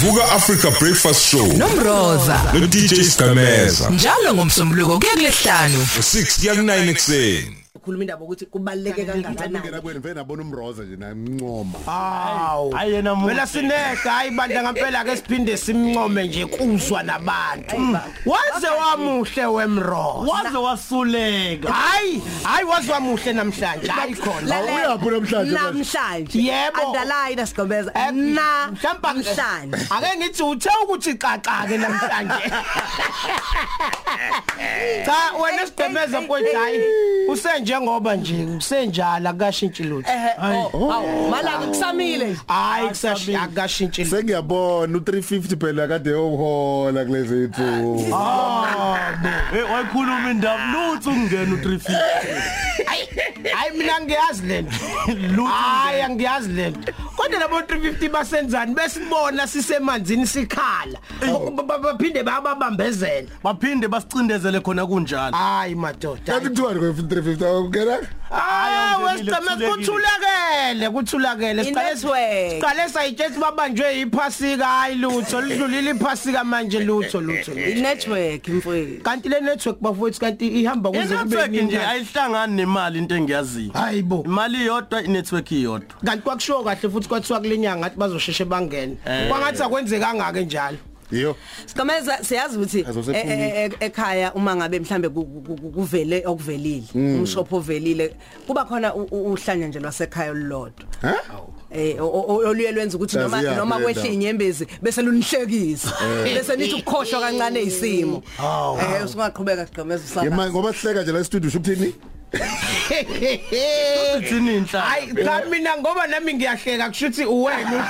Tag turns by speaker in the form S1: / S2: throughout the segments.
S1: vuka africa breakfast show
S2: nomroza
S1: no dj stameza
S2: njalo ngomsombuluko kuye kulesihlanu
S1: ngo6 kuya ku9 ekuseni
S3: khuluma indaba ukuthi kubaluleke
S4: ngingena
S3: kangakanani
S4: kwenu vele nabona umroza nje namncoma
S5: Aw.
S6: Hayi yena muntu.
S5: Phela sineka hayi bandla ngempela ke siphinde simncome nje kuzwa nabantu. Waze wamuhle wemro.
S6: waze wasuleka
S5: Hayi, hayi waze wamuhle namhlanje. Hayi khona.
S3: Lalela.
S4: Awuyaphi namhlanje manje?
S3: namhlanje
S5: Yebo.
S3: underline sigobeza
S5: Eh,
S3: na
S5: mhlawumbe-
S3: namhlanje
S5: Ake ngithi uthe ukuthi xaxa ke namhlanje. Cha wena sigqemeza mfowethu hayi. Usenjengoba nje usenjala akashintshi lutho.
S3: ehe oh, awu, malanga kusamile nje
S5: Hayi kusashintshi akashintshi lutho.
S4: sengiyabona u350 phela kade uhola kulezi ithu
S5: Ah.
S6: Eh, wayikhuluma indaba lutho ungena u350
S5: Hayi, hayi mina ngiyazi lento.
S6: Lutho
S5: Hayi angiyazi lento. Kodwa labo 350 basenzani besibona sisemanzini sikhala. Ba- ba- Baphinde bayababambezela.
S6: baphinde basicindezele khona kunjalo
S5: Hayi madoda.
S4: kanti kuthiwa ngwe 350 awungena
S5: Ah,
S6: Ayongenile,
S5: wesicema kuthulakele, kuthulakele. Siqale
S3: Inetwork.
S5: siqale sayitshela babanjwe iphasika hayi lutho, lidlulile iphasika manje lutho lutho. lutho.
S3: network mfowethu
S5: Kanti le network bafowethu kanti ihamba kuze kube
S6: inetwork nje
S5: nini.
S6: ayihlangani nemali into engiyaziyo
S4: Ah.
S5: Hayibo.
S6: imali iyodwa inetwork iyodwa
S5: kanti kwakushiwo kahle futhi kwathiwa kulenyanga ngathi bazosheshe bangene kwangathi akwenzekanga ke njalo
S4: yo
S3: Sigameza siyazi ukuthi
S4: Azosefuna.
S3: e- e- e- ekhaya uma ngabe mhlambe ku- ku- ku- kuvele okuvelile umshopho ovelile kuba khona u- u- uhlanya nje lwasekhaya olulodwa
S4: ha
S3: eh o- o- oluye lwenza ukuthi noma
S4: Laziya
S3: noma
S4: phela Eh.
S3: kwehle
S4: indaba.
S3: inyembezi bese lunihlekisa bese nithi ukukhohlwa kancane isimo eh usungaqhubeka sigqemeza
S4: yema
S3: usaba
S4: ngoba sihleka nje la studio usho ukuthini
S6: uthini inhla
S5: Eh, hayi cha mina ngoba nami ngiyahleka kusho ukuthi uwena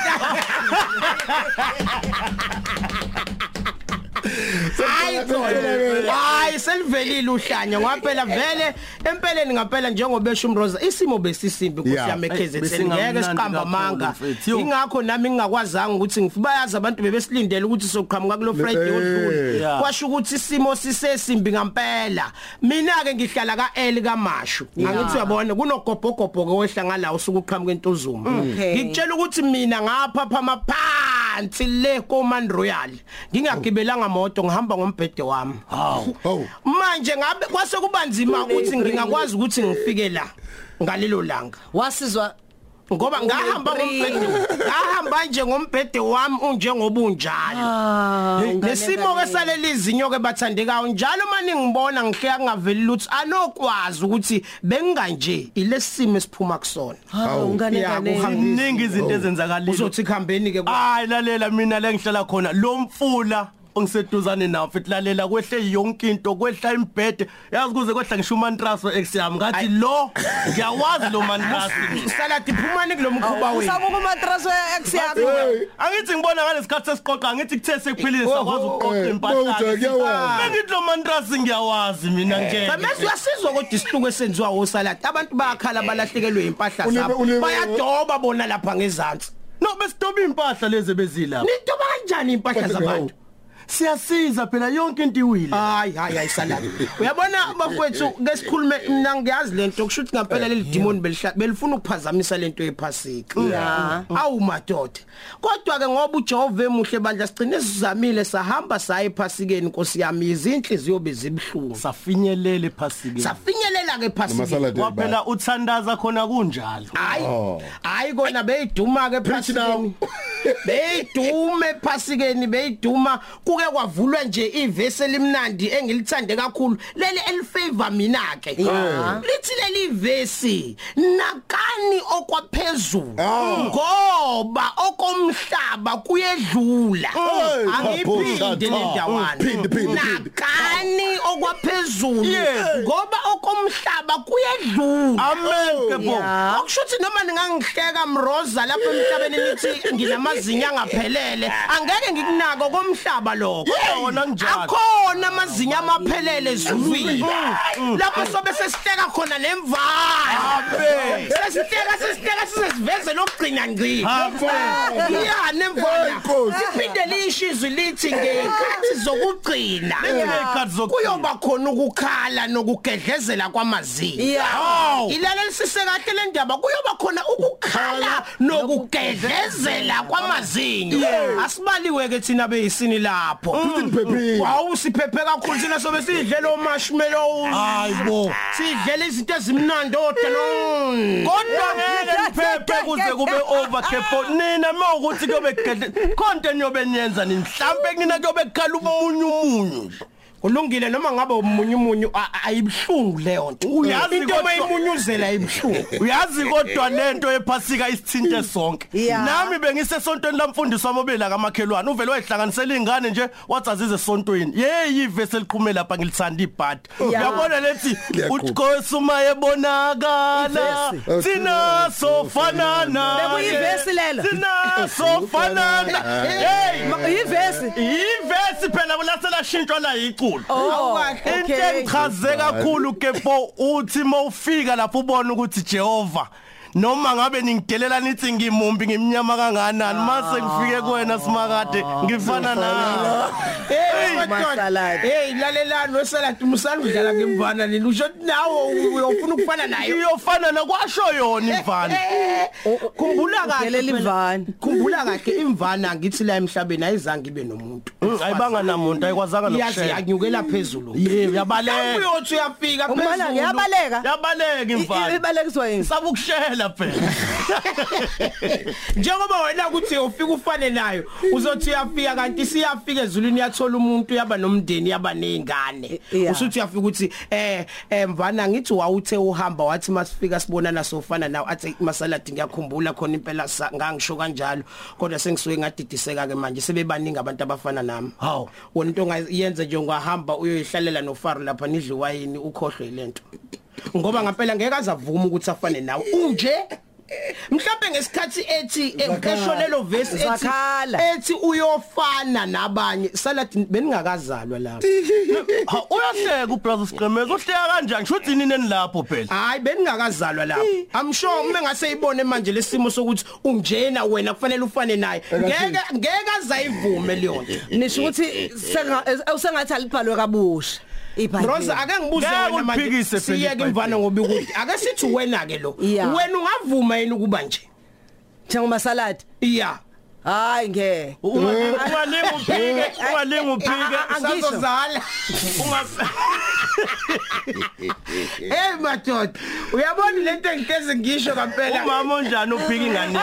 S5: hayi khona. hayi selivelile uhlanya ngaphela vele empeleni ngaphela njengoba esho umroza isimo besisimbi
S4: Yeah.
S5: kusiyame
S6: Eyi,
S5: KZN
S6: besingamnandi
S5: ngeke siqamba
S6: kakhulu,
S5: amanga
S6: mfethu. Yo.
S5: ingakho nami ngingakwazanga ukuthi ngifubayazi abantu bebesilindele ukuthi soqhamuka kulo Friday odlule
S6: Yeah.
S5: kwasho ukuthi isimo sisesimbi ngampela mina ke ngihlala kaeli kamashu angithi uyabona kunogobhogobho ke wehlanga la usuku uqhamuka entuzuma
S3: Okay.
S5: ngitshela ukuthi mina ngapha phama phansi le command royal ngingagibelanga moto ngihamba ngombhede wami
S4: oh
S5: manje ngabe kwase kubanzima ukuthi ngingakwazi ukuthi ngifike la ngalelo langa
S3: wasizwa
S5: ngoba ngahamba ngombhede ngahamba nje ngombhede wami unjengoba unjalo nesimo ke saleli zinyo ke bathandekayo njalo mani ngibona ngihleka ngaveli lutho anokwazi ukuthi bengikanje ilesimo esiphuma kusona
S3: ungane
S5: Yeah,
S3: ngane
S5: kuhamba-
S6: ziningi izinto ezenzakalile
S5: uzothi khambeni ke kwa-
S6: hayi lalela mina la engihlala khona lo mfula ongiseduzane nawo futhi lalela kwehle yonke into kwehla imbhede yazi kuze kwehla ngisho umantraso eksiyami ngathi lo ngiyawazi lo mantraso
S5: salad iphumani kulomkhuba wenu
S3: usabuka umatraso eksiyami
S4: hey
S6: angithi ngibona ngalesikhathi sesiqoqa angithi kuthe sekuphilile sakwazi ukuqoqa
S4: eh,
S6: impahla
S4: Bowja, ngiyawazi.
S6: bengithi lo mantrasi ngiyawazi mina ngeke
S5: Bamesi uyasizwa kodwa isihluku esenziwa osalad abantu bayakhala balahlekelwe impahla
S4: Ulime-
S5: zabo
S4: ulime-
S5: bayadoba bona lapha ngezantsi
S6: no besidoba impahla lezi bezilapha
S5: nidoba kanjani impahla
S4: Impahla
S5: zabantu
S6: siyasiza phela yonke into iwile
S5: hayi hayi ayisalala uyabona bafowethu ke sikhulume mina ngiyazi lento kusho ukuthi ngampela leli demon belihla- belifuna ukuphazamisa lento yephasika
S3: Yeah.
S5: awu madoda kodwa ke ngoba uJehova emuhle bandla sigcine sizamile sahamba saye ephasikeni nkosi yami izinhliziyo bezibhlungu
S6: safinyelele phasike
S5: safinyelela ke ephasikeni
S4: masalade
S6: kwaphela uthandaza khona kunjalo
S5: hayi
S4: Oh.
S5: hayi kona beyiduma ke
S4: Preach now.
S5: ephasikeni beyiduma ephasikeni beyiduma kuke kwavulwa nje ivesi elimnandi engilithande kakhulu leli elifavor mina ke
S3: Yeah.
S5: lithi leli vesi nakani okwaphezulu
S4: Ah.
S5: ngoba okomhlaba kuyedlula
S4: Hey,
S5: angiphindi
S4: Phaphosha, cha.
S5: lendawana
S4: Phinde, phinde, phinde.
S5: nakani okwaphezulu
S6: Yes.
S5: ngoba okomhlaba kuyedlula
S6: amen ke bo
S3: Yeah.
S5: Akushuthi noma ningangihleka mroza lapha emhlabeni nithi nginamazinyo angaphelele angeke ngikunako komhlaba lo
S6: lo kodwa wona njalo
S5: akhona amazinyo amaphelele ezulwini Mm. lapho sobe sesiteka khona lemvana sesiteka sesiteka siseziveze lokugcina ngci ya nemvana
S4: Nkosi.
S5: liphinde lisho izwi lithi ngey'khathi zokugcina
S6: ngey'khathi zokugcina.
S5: kuyoba khona ukukhala nokugedlezela kwamazinyo
S3: Yeah.
S5: Oh. ilalelisise kahle le ndaba kuyoba khona ukukhala nokugedlezela kwamazinyo asibaliwe-ke thina beyisini lapho
S6: Mm.
S4: Siphephile.
S5: Hawu siphephe kakhulu sina sobe sidlela omashmallows.
S6: Ah.
S5: Hayibo. Sidlela izinto ezimnandi odalon.
S6: kodwa ngeke niphephe kuze kube overcap nina mawukuthi kuyobe gedle konke niyobe niyenza nini mhlambe kunina kuyobe kukhala umunyu umunyu
S5: Kulungile noma ngabe umunyu umunyu a- a- ayibhlungu leyo nto.
S6: Uyazi
S5: into
S6: kodwa-
S5: mayimunyuzela ayibhlungu.
S6: uyazi kodwa lento ephasika isithinte sonke
S3: Yeah.
S6: nami bengisesontweni lamfundisi wami obelaka amakhelwane uvele wayihlanganisela iy'ngane nje wathi azize esontweni yeyi ivesi eliqhume lapha ngilithanda ibhadi
S3: Yeah.
S6: uyabona lethi
S4: Liyaqhupha.
S6: utkosi uma ebonakala
S3: Ivesi.
S6: thina sofanana
S3: Bekuyivesi lelo.
S6: thina sofanana yeyi
S3: Yivesi.
S6: ivesi phela laselashintshwa la yiculo
S3: Oh,
S6: into
S3: okay.
S6: engichaze kakhulu Kepo uthi mawufika lapho ubona ukuthi Jehova noma ngabe ningidelela nithi ngimumbi ngimnyama kanganani mase ngifike kuwena simakade ngifana nawe
S5: Hey,
S3: masaladi.
S5: Hey, lalelani wesaladi musaludlala ngemvana nini usho ukuthi nawo uyofuna ukufana nayo.
S6: iyofana nakwasho yona ivana
S5: Khumbula
S3: Udelela imvana.
S5: kahle. Khumbula kahle imvana ngithi la emhlabeni ayizange ibe nomuntu.
S6: ayibanga namuntu ayikwazanga
S5: Iyazi
S6: nokushaya
S5: yanyukela phezulu.
S6: yebo
S5: Lapho
S6: yabaleka
S5: uyothi uyafika
S3: Umana ngiyabaleka. I-
S6: yabaleka
S3: i-
S6: imfana
S3: Ibalekiswa yini?
S6: sabe ukushela phela
S5: njengoba wena ukuthi ufika ufane nayo uzothi uyafika kanti siyafika ezulwini yathola umuntu yaba nomndeni yaba nezingane
S3: I- yeah.
S5: usuthi uyafika ukuthi eh eh, mvana ngithi wawuthe uhamba wathi masifika sibonana sofana nawe athi masaladi ngiyakhumbula khona impela sa- ngangisho kanjalo kodwa sengisuke ngadidiseka ke manje sebebaningi abantu abafana nami
S6: Hawu.
S5: wena into ongayenze nje ungahamba uyoyihlalela nofaro lapha nidliwa yini ukhohlwe ilento ngoba ngampela ngeke azavuma ukuthi afane nawe unje mhlawumbe ngesikhathi ethi eshonelo vesi ethi-
S3: Zakhala.
S5: ethi uyofana nabanye saladi beningakazalwa lapho
S6: Ha, uyahleka ubrother Siqemeza uhleka kanjani ngisho uthi nini enilapho phela
S5: hayi beningakazalwa lapho i'm sure uma ngaseyibone manje lesimo sokuthi unjena wena kufanele ufane naye ngeke ngeke azayivume leyo nto
S3: Nisho ukuthi senga- eh, usengathi alibhalwe kabusha. Ibhayibheli.
S5: Rosa ake ngibuze
S6: Ngeke
S5: wena manje
S6: uliphikise phela
S5: siyeke
S6: ibhayibheli.
S5: imvana ngoba ikude ake sithi wena ke lo
S3: Yeah.
S5: wena ungavuma yini ukuba nje
S3: njengoba salad.
S5: iya
S3: Hayi ngeke.
S6: ungalinga uphike
S3: Eh.
S6: ungalinga uphike
S3: Ah, ah, ah, ngisho.
S5: sazozala
S3: eh.
S5: hey madoda uyabona lento engiteze ngisho kampela
S6: umama onjani uphika ingane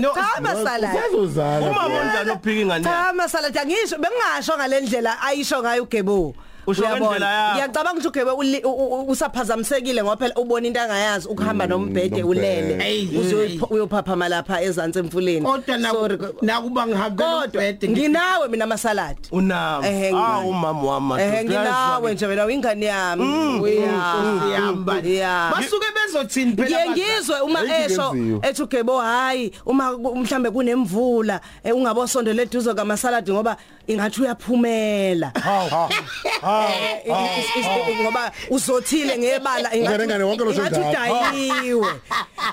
S5: No.
S3: Chama salad.
S4: Sazozala.
S6: umama onjani uphika ingane
S3: Chama salad angisho bengingasho ngalendlela ayisho ngayo uGebo.
S6: Usho ngendlela yakho.
S3: Ngiyacabanga ukuthi uGebo uli- u- u- usaphazamisekile ngoba phela ubona into angayazi ukuhamba nombhede ulele.
S5: Hey.
S3: Uzoyipho- Uyophaphama lapha ezantsi emfuleni.
S5: kodwa
S3: Sorry.
S5: naku- nakuba ngihambela
S3: Kodwa
S5: ubhede
S3: nginawe mina masalad.
S6: unami
S3: Ehhe,
S6: ah
S3: ngane.
S6: umama wama
S3: Eh nginawe nje wena uyingane yami.
S5: ngiyamba
S3: Yeah.
S5: "Oh, basuke bezothini
S3: Ngiye
S5: phela
S3: ngizwe uma
S4: Ethi
S3: esho
S4: kenziwe.
S3: ethi ugebo hayi uma ku- mhlambe kunemvula eh, ungabosondela eduze kwamasaladi ngoba ingathi uyaphumela Eh, is- is- is- ngoba uzothile ngebala ingathi-
S4: Ngane, ngane, wonke lo
S3: ingathi
S4: senzayo.
S3: udayiwe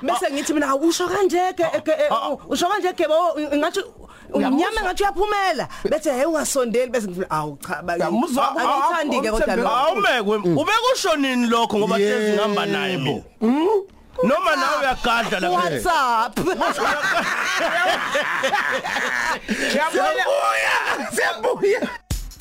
S3: bese ngithi mina hawu, usho kanje ke ke- eh, usho kanje gebo ingathi umnyama engathi uyaphumela bese hey ungasondeli bese ngithi awu cha ba
S5: Uyamuzwa?
S3: angithandi ke kodwa
S5: Awumthembe-
S3: lokho.
S6: awumekwe
S5: Mm.
S6: ubekushonini lokho ngoba
S4: Yebo.
S6: hlezi ngihamba naye mina
S5: Mm?
S6: noma nawe uyagadla la
S3: What's up?
S5: Ngiyabona-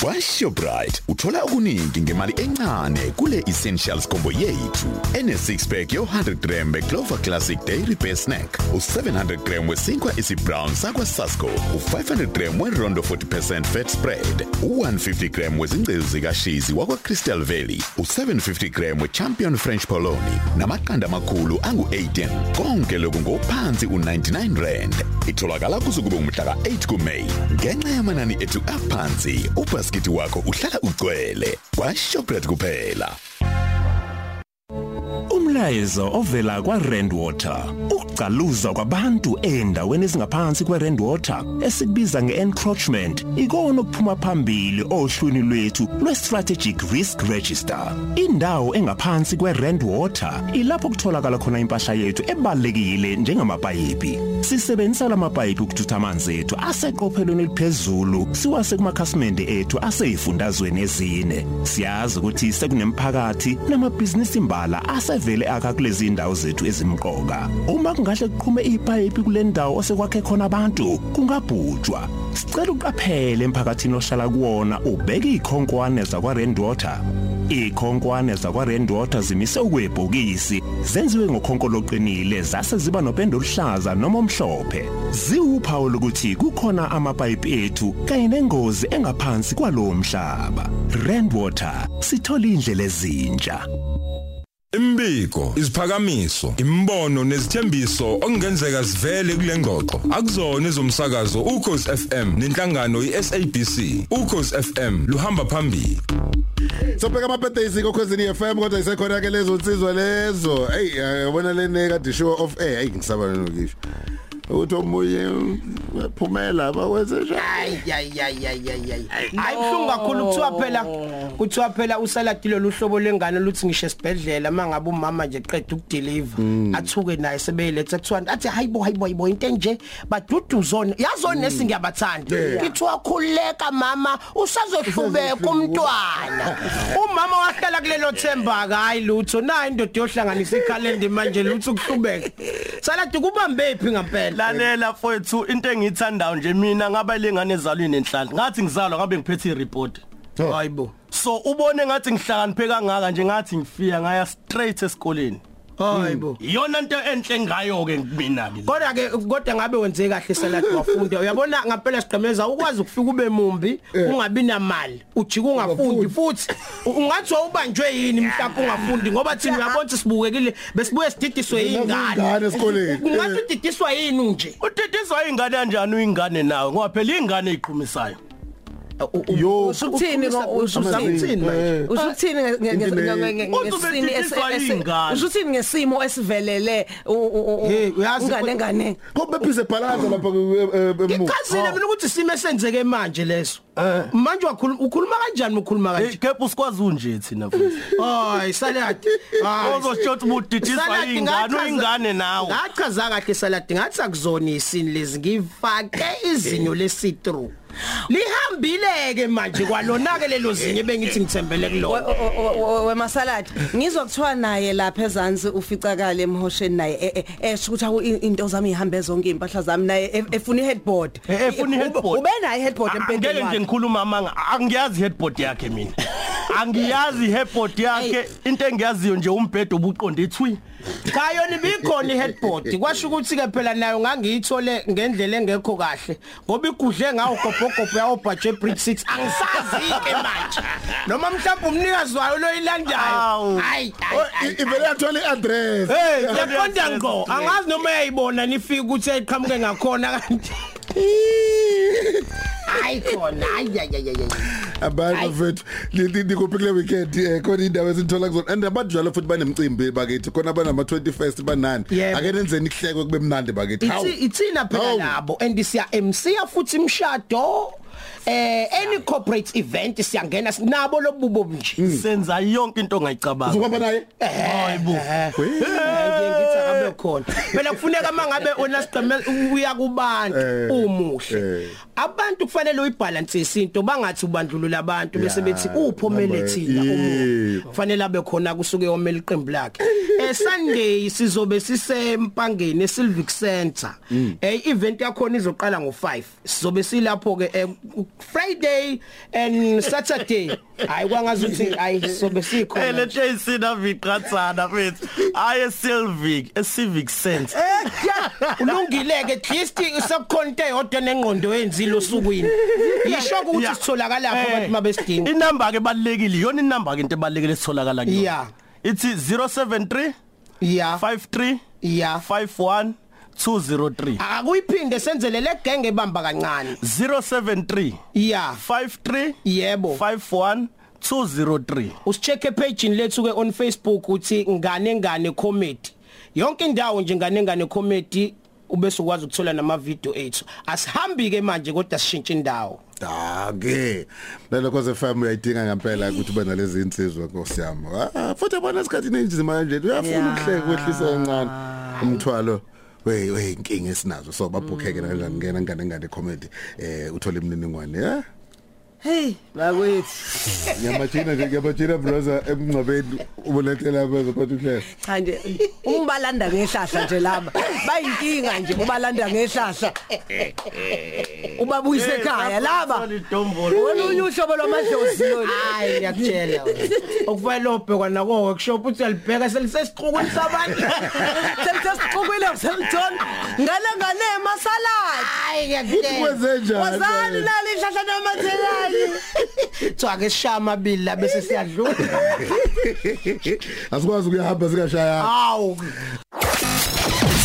S7: kwashoprite uthola okuningi ngemali encane kule essentials combo yethu ene-6 pack yo-100 gram beclover classic dairy bear snack u-700 gram wesinkwa esibrown sakwasasco u-500 gram werondo 40 fat spread u-150 gram wezingcezu zikashizi wakwacrystal valley u-750 gram wechampion french poloni namaqanda amakhulu angu-18 konke lokhu ngophansi u-99 rand itholakala kuze kube umhlaka-8 kumeyi ngenxa yamanani ethu aphansi ubhaskithi wakho uhlala ugcwele kwashopret kuphela
S8: Umlayezo ovela kwaRandwater. ukugcaluza kwabantu endaweni ezingaphansi kwe-rainwater esikubiza nge-encroachment ikona okuphuma phambili ohlwini lwethu lwe-strategic risk register indawo engaphansi kwe-rainwater ilapho kutholakala khona impahla yethu ebalulekile njengamapayipi sisebenzisa la mapayipi ukuthutha amanzi ethu aseqophelweni eliphezulu siwase kumakhasimende ethu aseyifundazweni ezine siyazi ukuthi sekunemphakathi namabhizinisi imbala asevele akha kulezi ndawo zethu ezimqoka uma kungahle kuqhume ipayipi kule ndawo osekwakhe khona abantu kungabhutshwa sicela uqaphele emphakathini ohlala kuwona ubeke iy'khonkwane zakwarendwater iy'khonkwane zakwarendwater zimise ukwebhokisi zenziwe ngokhonko loqinile zase ziba nopendo oluhlaza noma omhlophe ziwuphawu lokuthi kukhona amapayipi ethu kanye nengozi engaphansi kwalowo mhlaba randwater sithole indlela ezintsha
S1: Imbiko, isiphakamiso, imbono nezithembiso okungenzeka sivele kule ngoqo. Akuzona izomsakazo ukhosi FM nenhlangano iSABC. Ukhosi FM luhamba phambili.
S4: sobheka ama-birthdays kokhwezini i-fm kodwa isekhona-ke lezo nsizwa lezo eyi eh, yabona lene kadishiwa off air eyi ngisaba nokusho ukuthi omunye phumela bakwenze njani
S5: hayi buhlungu kakhulu kuthiwa phela kuthiwa phela usaladi lolu hlobo lwengane luthi ngisho esibhedlela uma ngabe umama nje qeda ukudeliva athuke naye sebeyiletha kuthiwa athi hayi bo hayi bo hayi bo into enje baduduzone yazona nesi ngiyabathanda ithiwa khuleka mama usazohlubeka umntwana umama wahlala kulelo themba-ke hhayi lutho nayo indoda yohlanganisa ikhalende manje lutho ukuhlubeka saladi kubambe phi ngampela
S6: lalela fowethu into engiyithandayo nje mina ngaba lengane ezalwe nenhlanhla ngathi ngizalwa ngabe ngiphethe ireport
S5: hayi bo
S6: so ubone ngathi ngihlakaniphe kangaka nje ngathi ngifika ngaya straight esikoleni
S5: hayi bo
S6: iyona nto enhle ngayo ke mina ke
S5: kodwa ke kodwa ngabe wenze kahle salad wafunda uyabona ngampela sigqemeza ukwazi ukufika ube mumbi ungabi namali ujike ungafundi futhi u- ungathi wawubanjwe yini mhlawumbe ungafundi ngoba thina uyabona ukuthi sibukekile besibuye sididiswe
S4: Ingane
S5: yingane
S4: esikoleni.
S5: ungathi udidiswa yini unje
S6: udidizwa ingane kanjani uyingane nawe ngoba phela ingane iqhumisayo
S4: yo
S2: Usuthini
S5: usuthini
S3: Eh.
S5: manje?
S2: Usuthini ngesini usuthini ngesimo esivelele
S5: Hey, uyazi-
S2: ungane ngane
S4: kobephise bhalanza lapha emuva
S5: ichazile mina ukuthi isimo esenzeke manje leso manje wakhuluma ukhuluma kanjani ukhuluma kanje
S6: ikephu sikwazi Eh, unje thina futhi
S5: hayi salad
S6: Eh. ozosho ukuthi budidizwa
S5: Saladi
S6: ingane
S5: ngachaza-
S6: uyingane nawe
S5: ngachaza kahle saladi ngathi akuzona isini lezi ngifake izinyo lesitru lihambileke manje kwalona-ke lelo zinyo bengithi ngithembele kulona
S3: wemasaladi ngizwa kuthiwa naye lapha ezansi uficakale emhosheni naye e- e- esho ukuthi awu i- into zami ihambe zonke iy'mpahla zami naye e- efuna i-headboard
S6: Eh, efuna i-headboard.
S3: ube nayo i-headboard
S6: Ah, ngeke nje
S3: empedeni
S6: ngikhuluma amanga Ah, angiyazi headboard yakhe mina angiyazi headboard yakhe into engiyaziyo nje umbhedo obuqonde ithwi
S5: kayona ibikhona i-headboard kwasho ukuthi-ke phela nayo ngangiyithole ngendlela engekho kahle ngoba igudle ngawo gobhogobho yawobhajwe ebrick six angisazi-ke manje noma mhlawumbe umnikazi wayo loyilandayo
S6: Awu.
S5: hayi
S4: Oh, i- ivele yathola i-address
S5: Hey, yaqonda ngo. Angazi noma eyayibona nifika ukuthi ayiqhamuke ngakhona kanti. Hayi khona. Ayayayayay.
S4: abantu fethu ni- nikuphi kule weekend um khona iy'ndawo ezinithola kuzona and abantu njalo futhi banemcimbi bakithi khona banama-21 banani
S5: Yebo.
S4: ake nenzeni kuhlekwe kube mnandi bakithi Hawu.
S5: Ithi ithina phela
S4: Hawu.
S5: labo and siya MC futhi imshado. Eh any corporate event siyangena sinabo lobubo nje.
S3: Hmm.
S6: senza yonke into ongayicabanga
S4: uzokuhamba naye
S6: hayibo
S5: Ngiyathi akabe khona. Phela kufuneka mangabe ona sigceme uya kubantu umuhle.
S4: eh.
S5: Abantu kufanele uyibhalansise into bangathi ubandlulula abantu bese bethi uphomele thina umuhle.
S4: Yebo.
S5: kufanele abe khona kusuke yomela iqembu lakhe eh Sunday sizobe sisempangeni eSilvic Center eh event yakhona izoqala ngo5 sizobe silapho ke eh, Friday and Saturday hayi kwangazi ukuthi hayi sizobe sikhona
S6: ele
S5: nje.
S6: chasina viqatsana mfethu aye silvic esivic sense
S5: ulungileke at least sekukhonto eyodwa nengqondo yenzile osukwini yisho ukuthi
S6: Yeah.
S5: sitholakala lapho abantu mabesidinga
S6: inamba ke balekile iyona inamba ke into ebalekile sitholakala kuyona
S5: Yeah.
S6: ithi 073
S5: yeah
S6: 53
S5: yeah
S6: 51 203
S5: akuyiphinde senzele le genge ebamba kancane
S6: 073
S5: yeah
S6: 53
S5: yebo
S6: 51 203
S5: usicheck epage lethu ke on Facebook uthi ngane ngane comedy yonke indawo nje nganengane committee ubese ukwazi ukuthola nama video ethu asihambi ke manje kodwa sishintshe indawo
S4: Dake. Lelo cause FM uyayidinga ngempela ukuthi ube nalezi insizwa Nkosi yami. Ah, Futhi abona isikhathi nenjima nje uyafuna ukuhleka kwehlisa kancane umthwalo. Wey wey inkinga esinazo so babhukheke kanjani ngena ngane ngane comedy eh uthola imininingwane eh
S3: hey bakwethu
S4: ngiyamajina nje ngiyamajina brother emngcwabeni ubulethela abantu phansi uhlelo
S3: cha nje umbalanda ngehlahla nje laba bayinkinga nje ubalanda ngehlahla
S6: Eh,
S3: ubabuyise ekhaya laba olunye uhlobo lwamadlozi lolu
S5: hayi ngiyakutshela okufanele obhekwa nako workshop uthi alibheka selisesiqhukweni sabantu
S3: semsesixukwile semthon ngale ngale masaladi
S5: hayi ngiyakutshela
S4: kwenzenjani
S3: wazani nalo ihlahla namathekali
S5: kuthiwa ke sishaya amabili la bese siyadlula
S4: asikwazi ukuyahamba sikashaya
S5: hawu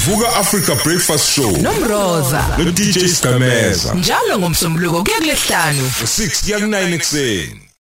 S1: Vuka Africa Breakfast Show
S9: nomroza
S1: no DJ Stameza
S9: njalo ngomsombuluko kuya kulesihlanu
S1: ngo 6 ya 9 ekseni